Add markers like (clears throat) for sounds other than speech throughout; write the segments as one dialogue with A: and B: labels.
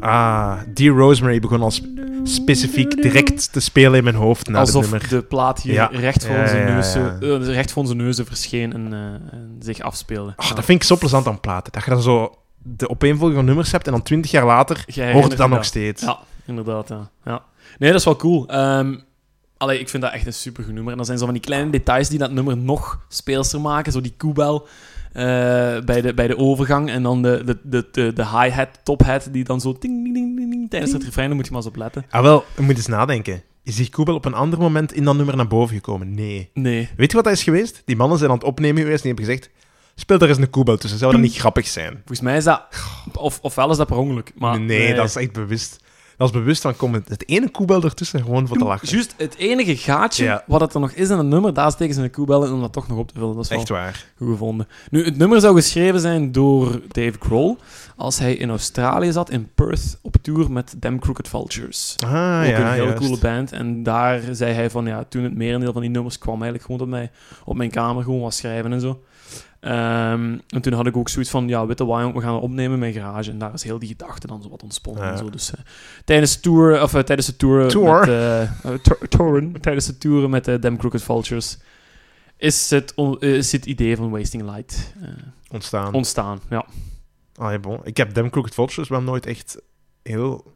A: Ah, die Rosemary begon al sp- specifiek direct te spelen in mijn hoofd na dit
B: Alsof
A: nummer.
B: de plaat hier
A: Ja.
B: recht, voor
A: Ja,
B: onze
A: ja, ja,
B: neuzen,
A: ja.
B: eh, recht voor onze neuzen verscheen en, eh, en zich afspeelde.
A: Ah, dat vind ik zo plezant aan platen. Dat je dan zo de opeenvolging van nummers hebt en dan twintig jaar later
B: Jij
A: hoort
B: herinnert
A: het dan
B: je
A: nog
B: dat.
A: steeds.
B: Ja, inderdaad. Ja. Ja. Nee, dat is wel cool. Ehm allee, ik vind dat echt een supergoed nummer. En dan zijn zo van die kleine details die dat nummer nog speelser maken. Zo die koebel eh, bij, de, bij de overgang. En dan de, de, de, de, de hi-hat, top-hat, die dan zo ting, ding, ding, ding, ding, tijdens het refrein. Daar moet je maar eens op letten.
A: Ah, wel, je moet eens nadenken. Is die Koebel op een ander moment in dat nummer naar boven gekomen? Nee.
B: Nee.
A: Weet je wat dat is geweest? Die mannen zijn aan het opnemen geweest en die hebben gezegd... Speel daar eens een Koebel tussen, zou dat niet grappig zijn?
B: Volgens mij is dat... Of, ofwel is dat per ongeluk. Maar,
A: nee, dat is echt bewust. Dat is bewust, dan komt het, het ene Koebel ertussen gewoon voor te lachen.
B: Juist het enige gaatje
A: Ja.
B: wat het er nog is in het nummer, daar steken ze een koebel in om dat toch nog op te vullen. Dat is wel
A: Echt waar.
B: Goed gevonden. Nu, het nummer zou geschreven zijn door Dave Grohl als hij in Australië zat, in Perth, op tour met Them Crooked Vultures.
A: Ah,
B: Ook
A: ja,
B: een heel
A: juist.
B: coole band. En daar zei hij van, ja, toen het merendeel van die nummers kwam eigenlijk gewoon op, mij, op mijn kamer, gewoon wat schrijven en zo. Ehm, en toen had ik ook zoiets van, ja, witte wine, we gaan het opnemen in mijn garage. En daar is heel die gedachte dan zo wat ontsponnen
A: Ja.
B: en zo. Dus eh, tijdens, tour, of, eh, tijdens de tour...
A: Tour.
B: Met, eh, eh, tour- touren, tijdens de toeren met de Them Crooked Vultures is het, on- eh, is het idee van Wasting Light eh,
A: Ontstaan.
B: ontstaan. Ja.
A: Allee, bon. Ik heb Dem Crooked Vultures wel dus nooit echt heel...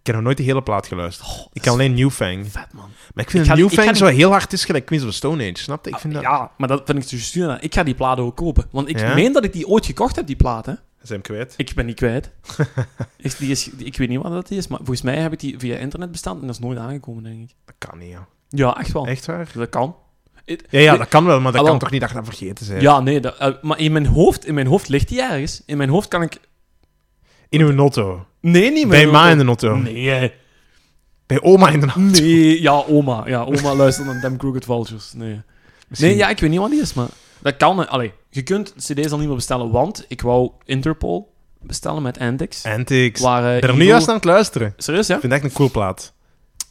A: Ik heb nog nooit de hele plaat geluisterd. ik kan alleen New Fang.
B: Vet, man.
A: Maar ik vind
B: Ik ga-
A: New
B: ik ga
A: Fang
B: niet-
A: zo heel hard is gelijk Queens of the Stone Age, snap je? Ik vind dat...
B: Ah, Ja, maar dat vind ik dus stuur Ik ga die platen ook kopen. Want ik
A: Ja?
B: meen dat ik die ooit gekocht heb, die platen.
A: Zijn we kwijt?
B: Ik ben die
A: (laughs)
B: kwijt. Echt, die is, die- ik weet niet wat dat is, maar volgens mij heb ik die via internet bestaan en dat is nooit aangekomen, denk ik.
A: Dat kan niet, ja.
B: Ja, echt wel. Dus
A: Echt waar?
B: Dat kan. Het-
A: Oh. Ja, ja, dat kan wel, maar
B: Ah,
A: dat
B: wel.
A: kan toch niet dat je dat vergeten zijn.
B: Ja, nee, dat, eh, maar in mijn, hoofd, in mijn hoofd ligt die ergens. In mijn hoofd kan ik...
A: In uw auto.
B: Nee, niet
A: Bij
B: meer.
A: ma in de auto.
B: Nee, eh.
A: Bij oma in de auto.
B: nee, ja, oma. Ja, oma (laughs) luistert naar Damn Crooked Vultures. Nee.
A: Misschien-
B: Nee, ja, ik weet niet wat die is, maar dat kan. eh, Allee, je kunt CD's al niet meer bestellen, want ik wou Interpol bestellen met Antics.
A: (laughs) Antics. Ik
B: Waar, eh,
A: ben er nu
B: Evil-
A: juist aan het luisteren.
B: Serieus, ja?
A: Ik vind het echt een cool plaat.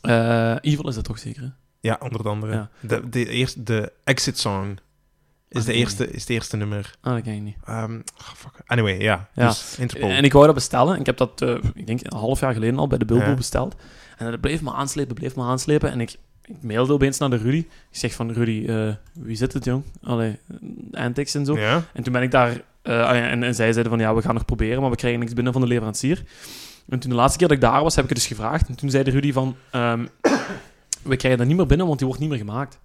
B: Eh Evil is dat toch zeker? hè?
A: Ja, onder andere.
B: Ja.
A: De, de, eerste, de exit song is,
B: Ah,
A: de
B: nee.
A: eerste, is het eerste nummer.
B: Ah, dat ken ik niet.
A: Ehm, ah, fuck. Anyway, ja.
B: Ja.
A: Dus Interpol.
B: En ik wou dat bestellen. Ik heb dat, eh, ik denk, een half jaar geleden al bij de Bilbo
A: Ja.
B: besteld. En dat bleef me aanslepen, bleef me aanslepen. En ik, ik mailde opeens naar de Rudy. Ik zeg van, Rudy, eh, wie zit het, jong? Allee, Antics en zo.
A: Ja?
B: En toen ben ik daar... eh, ah ja, en, en zij zeiden van, ja, we gaan nog proberen, maar we krijgen niks binnen van de leverancier. En toen de laatste keer dat ik daar was, heb ik het dus gevraagd. En toen zei de Rudy van, ehm, (coughs) we krijgen dat niet meer binnen, want die wordt niet meer gemaakt.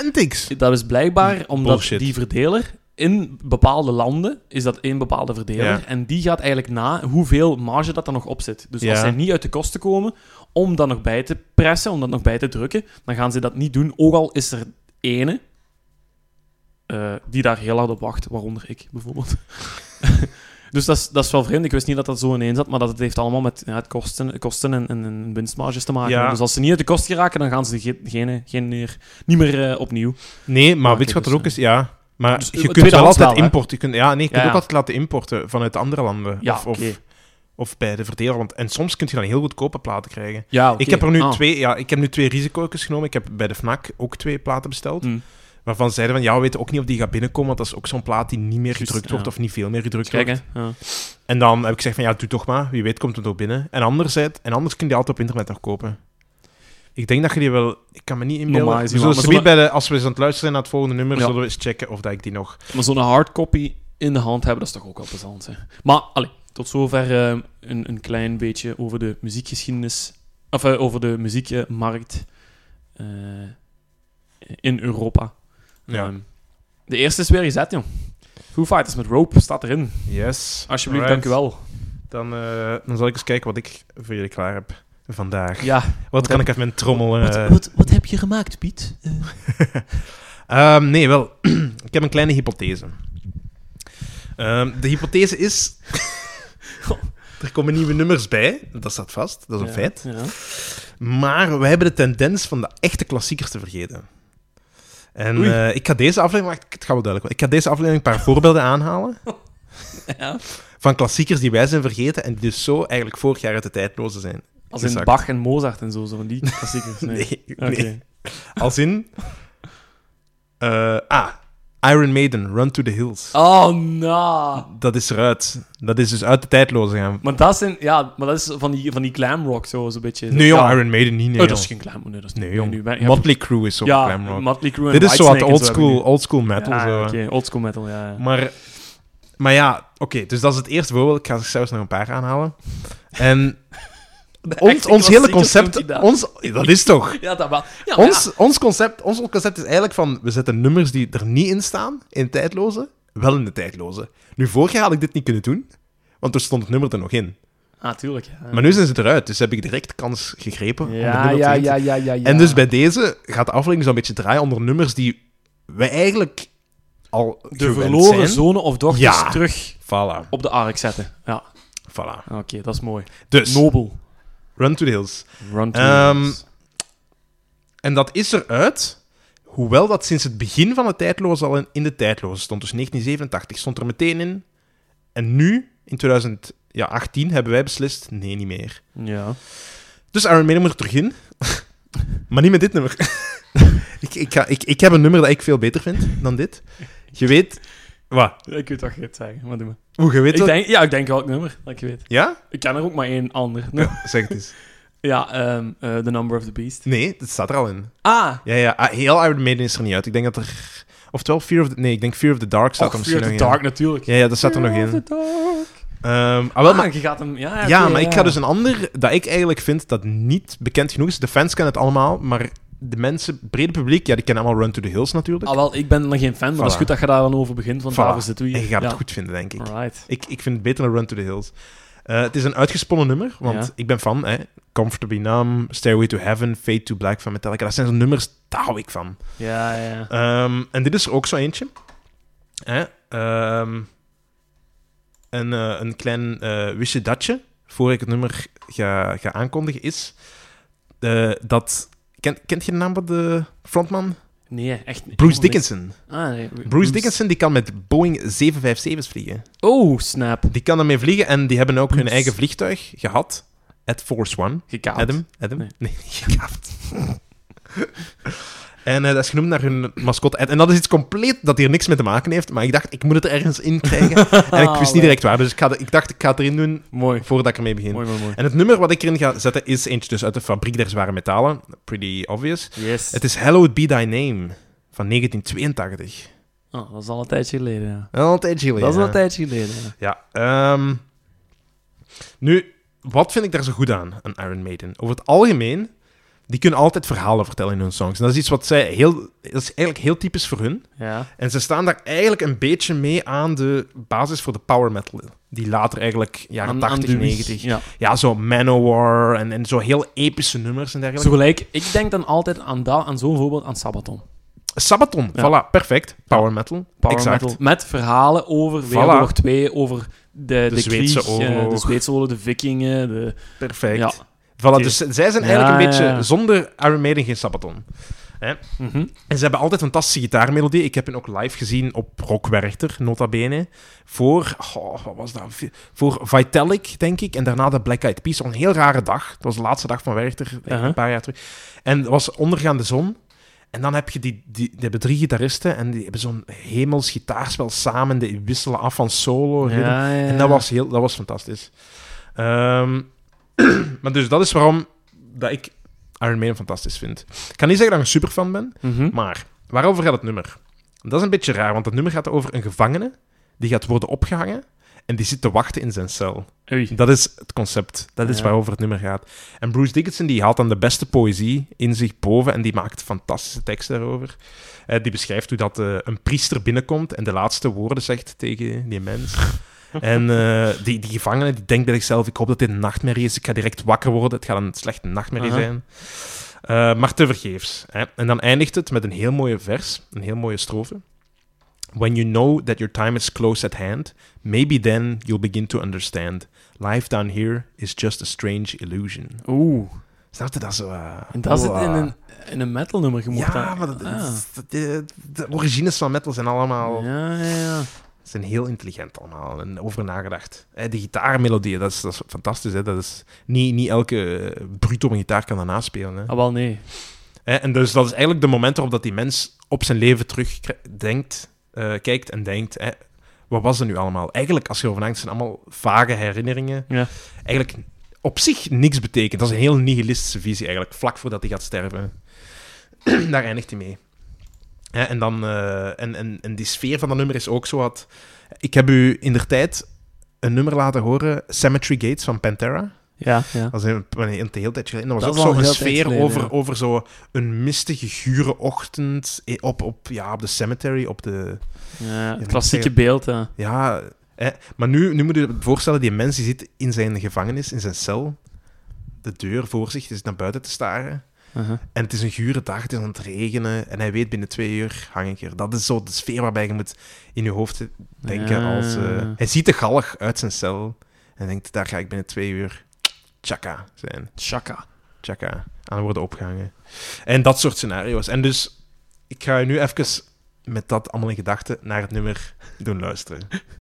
A: Antics.
B: Dat is blijkbaar omdat
A: Bullshit.
B: die verdeler... In bepaalde landen is dat één bepaalde verdeler.
A: Ja.
B: En die gaat eigenlijk na hoeveel marge dat er nog op zit. Dus
A: Ja.
B: als zij niet uit de kosten komen om dat nog bij te pressen, om dat nog bij te drukken, dan gaan ze dat niet doen. Ook al is er ene eh, die daar heel hard op wacht, waaronder ik bijvoorbeeld. (laughs) dus dat is, dat is wel vreemd. Ik wist niet dat dat zo ineens zat, maar dat het heeft allemaal met ja, het kosten, kosten en, en, en winstmarges te maken.
A: Ja.
B: Dus als ze niet uit de kosten geraken, dan gaan ze ge- geen, geen meer, niet meer eh, opnieuw.
A: Nee, maar
B: Ah,
A: weet je wat
B: oké,
A: er ook
B: dus,
A: is? Ja. Maar
B: Dus, eh,
A: je kunt wel
B: tweedehands
A: altijd
B: wel, hè?
A: importen. Je kunt, ja, nee, je kunt
B: Ja,
A: ook
B: ja.
A: altijd laten importen vanuit andere landen.
B: Ja,
A: of, of,
B: oké.
A: of bij de verdeler. Want, en soms kun je dan heel goedkope platen krijgen.
B: Ja,
A: Ik heb er nu
B: ah.
A: twee, ja, ik heb nu twee risico's genomen. Ik heb bij de FNAC ook twee platen besteld.
B: Mm.
A: Waarvan zeiden van, ja, we weten ook niet of die gaat binnenkomen. Want dat is ook zo'n plaat die niet meer
B: Juist,
A: gedrukt wordt
B: ja.
A: of niet veel meer gedrukt
B: Kijk, hè.
A: wordt.
B: Ja.
A: En dan heb ik gezegd van, ja, doe toch maar. Wie weet komt het ook binnen. En anderzijds, en anders kun je die altijd op internet nog kopen. Ik denk dat je die wel... Ik kan me niet inbeelden.
B: Normaal is die
A: We
B: wel,
A: zullen
B: maar
A: zometeen bij de, als we eens aan het luisteren zijn naar het volgende nummer,
B: Ja.
A: zullen we eens checken of dat ik die nog...
B: Maar zo'n hardcopy in de hand hebben, dat is toch ook wel plezant, hè? Maar, allee, tot zover eh, een, een klein beetje over de muziekgeschiedenis... Of eh, over de muziekmarkt eh, in Europa.
A: Ja.
B: Ehm, de eerste is weer gezet, jong. Foo Fighters met Rope staat erin.
A: Yes.
B: Alsjeblieft,
A: Alright.
B: dankjewel.
A: Dan, eh, dan zal ik eens kijken wat ik voor jullie klaar heb vandaag.
B: Ja,
A: (laughs) Wat kan ik uit mijn trommel... eh,
B: heb je gemaakt, Piet? Eh,
A: Ehm, nee, wel. (clears throat) ik heb een kleine hypothese. Ehm, de hypothese is... (laughs) er komen nieuwe nummers bij. Dat staat vast. Dat is een feit.
B: Ja.
A: Maar we hebben de tendens van de echte klassiekers te vergeten. En
B: Oei.
A: eh, ik ga deze aflevering... Maar het gaat wel duidelijk worden. Ik ga deze aflevering een paar voorbeelden aanhalen
B: (laughs) Ja.
A: van klassiekers die wij zijn vergeten en die dus zo eigenlijk vorig jaar uit de tijdloze zijn.
B: Als in
A: gezakt.
B: Bach en Mozart en zo, zo van
A: (laughs)
B: die klassiekers. Nee.
A: Nee,
B: Oké.
A: nee. Als in... eh, ah, Iron Maiden, Run to the Hills.
B: Oh, na.
A: Dat is eruit. Dat is dus uit de tijdloze gaan.
B: Maar dat, zijn, ja, maar dat is van die, van die glam rock zo, zo'n beetje.
A: Nee, jong,
B: Ja.
A: Iron Maiden niet. Nee,
B: Oh,
A: jong.
B: dat is geen glam. Nee, dat is
A: Nee,
B: niet-
A: jong.
B: nu ben-
A: Motley Crue is zo
B: ja,
A: glam rock.
B: Motley Crue en
A: Dit is zo wat
B: Whitesnake en
A: old
B: zo hebben we
A: school, old school
B: nu.
A: metal.
B: Ja,
A: zo.
B: oké, old school metal, ja.
A: Maar, maar ja, oké. dus dat is het eerste voorbeeld. Ik ga er zelfs nog een paar aanhalen.
B: (laughs)
A: En ons, ons hele concept...
B: kandidaat.
A: Ons, dat is toch...
B: Ja, dat wel. Ja, maar
A: Ons, ons, concept, ons concept is eigenlijk van... We zetten nummers die er niet in staan, in tijdloze, wel in de tijdloze. Nu, vorig jaar had ik dit niet kunnen doen, want er stond het nummer er nog in.
B: ja. Ah, tuurlijk. Ja,
A: Maar nu zijn ze eruit, dus heb ik direct de kans gegrepen om het
B: ja,
A: nummer
B: ja,
A: te
B: ja, ja, ja, ja.
A: En dus bij deze gaat de aflevering zo'n beetje draaien onder nummers die we eigenlijk al
B: de
A: gewend
B: verloren
A: zijn.
B: zonen of dochters
A: Ja.
B: terug
A: Voilà,
B: op de ark zetten. Ja,
A: voilà.
B: oké, dat is mooi.
A: Dus,
B: Nobel.
A: Run to the Hills.
B: Run to
A: Ehm,
B: Wales.
A: En dat is eruit, hoewel dat sinds het begin van de tijdloze al in, in de tijdloze stond. Dus 1987 stond er meteen in. En nu, in 2018, hebben wij beslist, nee, niet meer.
B: Ja.
A: Dus Iron Maiden moet er terug in. (laughs) maar niet met dit nummer. (laughs) ik, ik, ga, ik, ik heb een nummer dat ik veel beter vind dan dit. Je weet... Wat?
B: Ik weet toch het zeggen, maar doe maar.
A: Hoe, je weet
B: Ik
A: dat-
B: denk, ja, ik denk welk nummer, dat ik weet.
A: Ja?
B: Ik ken er ook maar één ander.
A: (laughs)
B: nummer.
A: Zeg het
B: (laughs)
A: eens.
B: Ja, ehm, eh, The Number of the Beast.
A: Nee, dat staat er al in.
B: Ah,
A: Ja, ja. ah, Heel Iron Maiden is er niet uit. Ik denk dat er... Oftewel Fear of the... Nee, ik denk Fear of the Dark staat
B: Och,
A: er
B: Fear
A: misschien
B: of the
A: nog in.
B: Dark natuurlijk.
A: Ja, ja, dat staat er nog
B: Fear of
A: in.
B: the Dark.
A: Ehm, ah, wel, maar,
B: Ah, je gaat hem... Ja,
A: ja,
B: oké,
A: maar ik ga dus een ander dat ik eigenlijk vind dat niet bekend genoeg is. De fans kennen het allemaal, maar de mensen, brede publiek, ja, die kennen allemaal Run to the Hills natuurlijk.
B: Ah, wel, ik ben nog geen fan, maar dat is
A: Voilà.
B: goed dat je daar dan over begint, want
A: Voilà.
B: daarvoor zitten we
A: En
B: hier.
A: je gaat
B: ja.
A: het goed vinden, denk ik.
B: Alright.
A: Ik, ik vind het beter dan Run to the Hills. Eh, het is een uitgesponnen nummer, want
B: Ja.
A: ik ben fan. Hè? Comfortably Numb, Stairway to Heaven, Fade to Black van Metallica. Dat zijn zo'n nummers, daar hou ik van.
B: Ja, ja.
A: Ehm, en dit is er ook zo eentje. Hè? Ehm, en, eh, een klein eh wistje datje, voor ik het nummer ga, ga aankondigen, is eh, dat... Ken, kent je de naam van de frontman?
B: Nee, echt niet. Helemaal
A: Bruce Dickinson.
B: niks. Ah, nee.
A: Bruce Dickinson die kan met Boeing 757's vliegen.
B: Oh, snap.
A: Die kan ermee vliegen en die hebben ook hun
B: Bruce.
A: eigen vliegtuig gehad. At Force One.
B: Gekaapt.
A: Adam? Adam?
B: Nee.
A: Nee, gekaapt. (laughs) en eh, dat is genoemd naar hun mascotte. Ed. En dat is iets compleet dat hier niks mee te maken heeft. Maar ik dacht, ik moet het er ergens
B: (laughs)
A: in krijgen. en ik wist niet direct waar. Dus ik, ga, er- ik dacht, ik ga het erin doen
B: Ah, Mooi.
A: voordat ik ermee begin.
B: Mooi, mooi, mooi.
A: En het nummer wat ik erin ga zetten is eentje dus uit de fabriek der zware metalen. Pretty obvious.
B: Yes.
A: Het is Hallowed Be Thy Name van 1982.
B: Oh, dat is al een tijdje geleden, ja.
A: Wel Een tijdje geleden.
B: Dat is al een
A: hè?
B: tijdje geleden, ja.
A: Ja. ehm, nu, wat vind ik daar zo goed aan, aan Iron Maiden? Over het algemeen, die kunnen altijd verhalen vertellen in hun songs. En dat is iets wat zij heel... Dat is eigenlijk heel typisch voor hun.
B: Ja.
A: En ze staan daar eigenlijk een beetje mee aan de basis voor de power metal. Die later eigenlijk jaren
B: Aan- aan
A: 80,
B: de wieg.
A: 90...
B: Ja.
A: Ja, zo Manowar en, en zo heel epische nummers en dergelijke.
B: Zo gelijk, ik denk dan altijd aan, dat- aan zo'n voorbeeld aan Sabaton.
A: Sabaton,
B: Ja.
A: voilà, perfect. Power metal,
B: Power
A: exact.
B: metal. Met verhalen over Wereldoorlog 2, over de, de,
A: Zweedse
B: krieg, eh, de
A: oorlog.
B: Zweedse oorlog, de vikingen, de...
A: Perfect.
B: Ja.
A: Voilà, dus zij zijn eigenlijk
B: Ja,
A: een
B: ja,
A: beetje...
B: ja.
A: Zonder Iron Maiden geen Sabaton.
B: Mhm.
A: En ze hebben altijd fantastische gitaarmelodie. Ik heb hen ook live gezien op Rock Werchter, nota bene. Voor, goh, wat was dat? Vi- Voor Vitalik, denk ik. En daarna de Black Eyed Peas. Al een heel rare dag. Het was de laatste dag van Werchter,
B: Uh-huh.
A: een paar jaar terug. En het was ondergaande zon. En dan heb je die, die, die hebben drie gitaristen. En die hebben zo'n hemels gitaarspel samen. Die wisselen af van solo.
B: Ja,
A: rhythm.
B: ja, ja.
A: En dat was, heel, dat was fantastisch. Ehm, (clears throat) maar dus dat is waarom dat ik Iron Maiden fantastisch vind. Ik kan niet zeggen dat ik een superfan ben.
B: Mhm.
A: Maar waarover gaat het nummer? Dat is een beetje raar, want het nummer gaat over een gevangene die gaat worden opgehangen en die zit te wachten in zijn cel.
B: Oei.
A: Dat is het concept. Dat is
B: Ja.
A: waarover het nummer gaat. En Bruce Dickinson die haalt dan de beste poëzie in zich boven en die maakt fantastische teksten daarover. Eh, die beschrijft hoe dat eh, een priester binnenkomt en de laatste woorden zegt tegen die mens.
B: (laughs)
A: En eh, die, die gevangene die denkt bij zichzelf: ik hoop dat dit een nachtmerrie is. Ik ga direct wakker worden. Het gaat een slechte nachtmerrie
B: Aha.
A: zijn. Eh, maar tevergeefs. Hè? En dan eindigt het met een heel mooie vers, een heel mooie strofe. When you know that your time is close at hand, maybe then you'll begin to understand. Life down here is just a strange illusion.
B: Oeh.
A: Snap je dat zo? eh,
B: En dat zit
A: wow.
B: in een, in een metal nummer gemocht.
A: Ja, maar dat,
B: Ah.
A: dat- de, de origines van metal zijn allemaal
B: Ja, ja, ja.
A: zijn heel intelligent allemaal en over nagedacht. Hè, De gitaarmelodieën, dat is, dat is fantastisch. Hè? Dat is, niet, niet elke eh, bruut op een gitaar kan dat naspelen. Hè?
B: Ah, wel, nee.
A: Hè, En dus dat is eigenlijk de moment waarop dat die mens op zijn leven terugdenkt. eh, kijkt en denkt... Hè, wat was er nu allemaal? Eigenlijk, als je erover nadenkt, zijn allemaal vage herinneringen.
B: Ja.
A: Eigenlijk op zich niks betekent. Dat is een heel nihilistische visie eigenlijk, vlak voordat hij gaat sterven. (clears throat) Daar eindigt hij mee. Hè, en, dan, eh, en, en, en die sfeer van dat nummer is ook zo wat... Ik heb u in der tijd een nummer laten horen, Cemetery Gates van Pantera.
B: Ja, ja.
A: Dat is een, een, een heel tijd geleden. Dat was
C: Dat is
A: ook
C: al
A: zo'n
C: een heel tijd
A: sfeer
C: geleden,
A: over,
C: ja.
A: over zo een mistige, gure ochtend eh, op, op, ja, op de cemetery, op de...
B: ja het
A: moet
B: klassieke
A: zeggen-
B: beeld, ja.
A: Ja, hè. maar nu, nu moet je je voorstellen, die mens die zit in zijn gevangenis, in zijn cel, de deur voor zich, die zit naar buiten te staren.
B: Uh-huh.
A: En het is een gure dag, het is aan het regenen, en hij weet binnen twee uur hang ik er. Dat is zo de sfeer waarbij je moet in je hoofd denken
B: Ja.
A: als... eh, hij ziet de galg uit zijn cel en denkt, daar ga ik binnen twee uur tjaka zijn.
B: Chaka.
A: Chaka aan worden opgehangen. En dat soort scenario's. En dus, ik ga je nu even met dat allemaal in gedachten naar het nummer doen luisteren.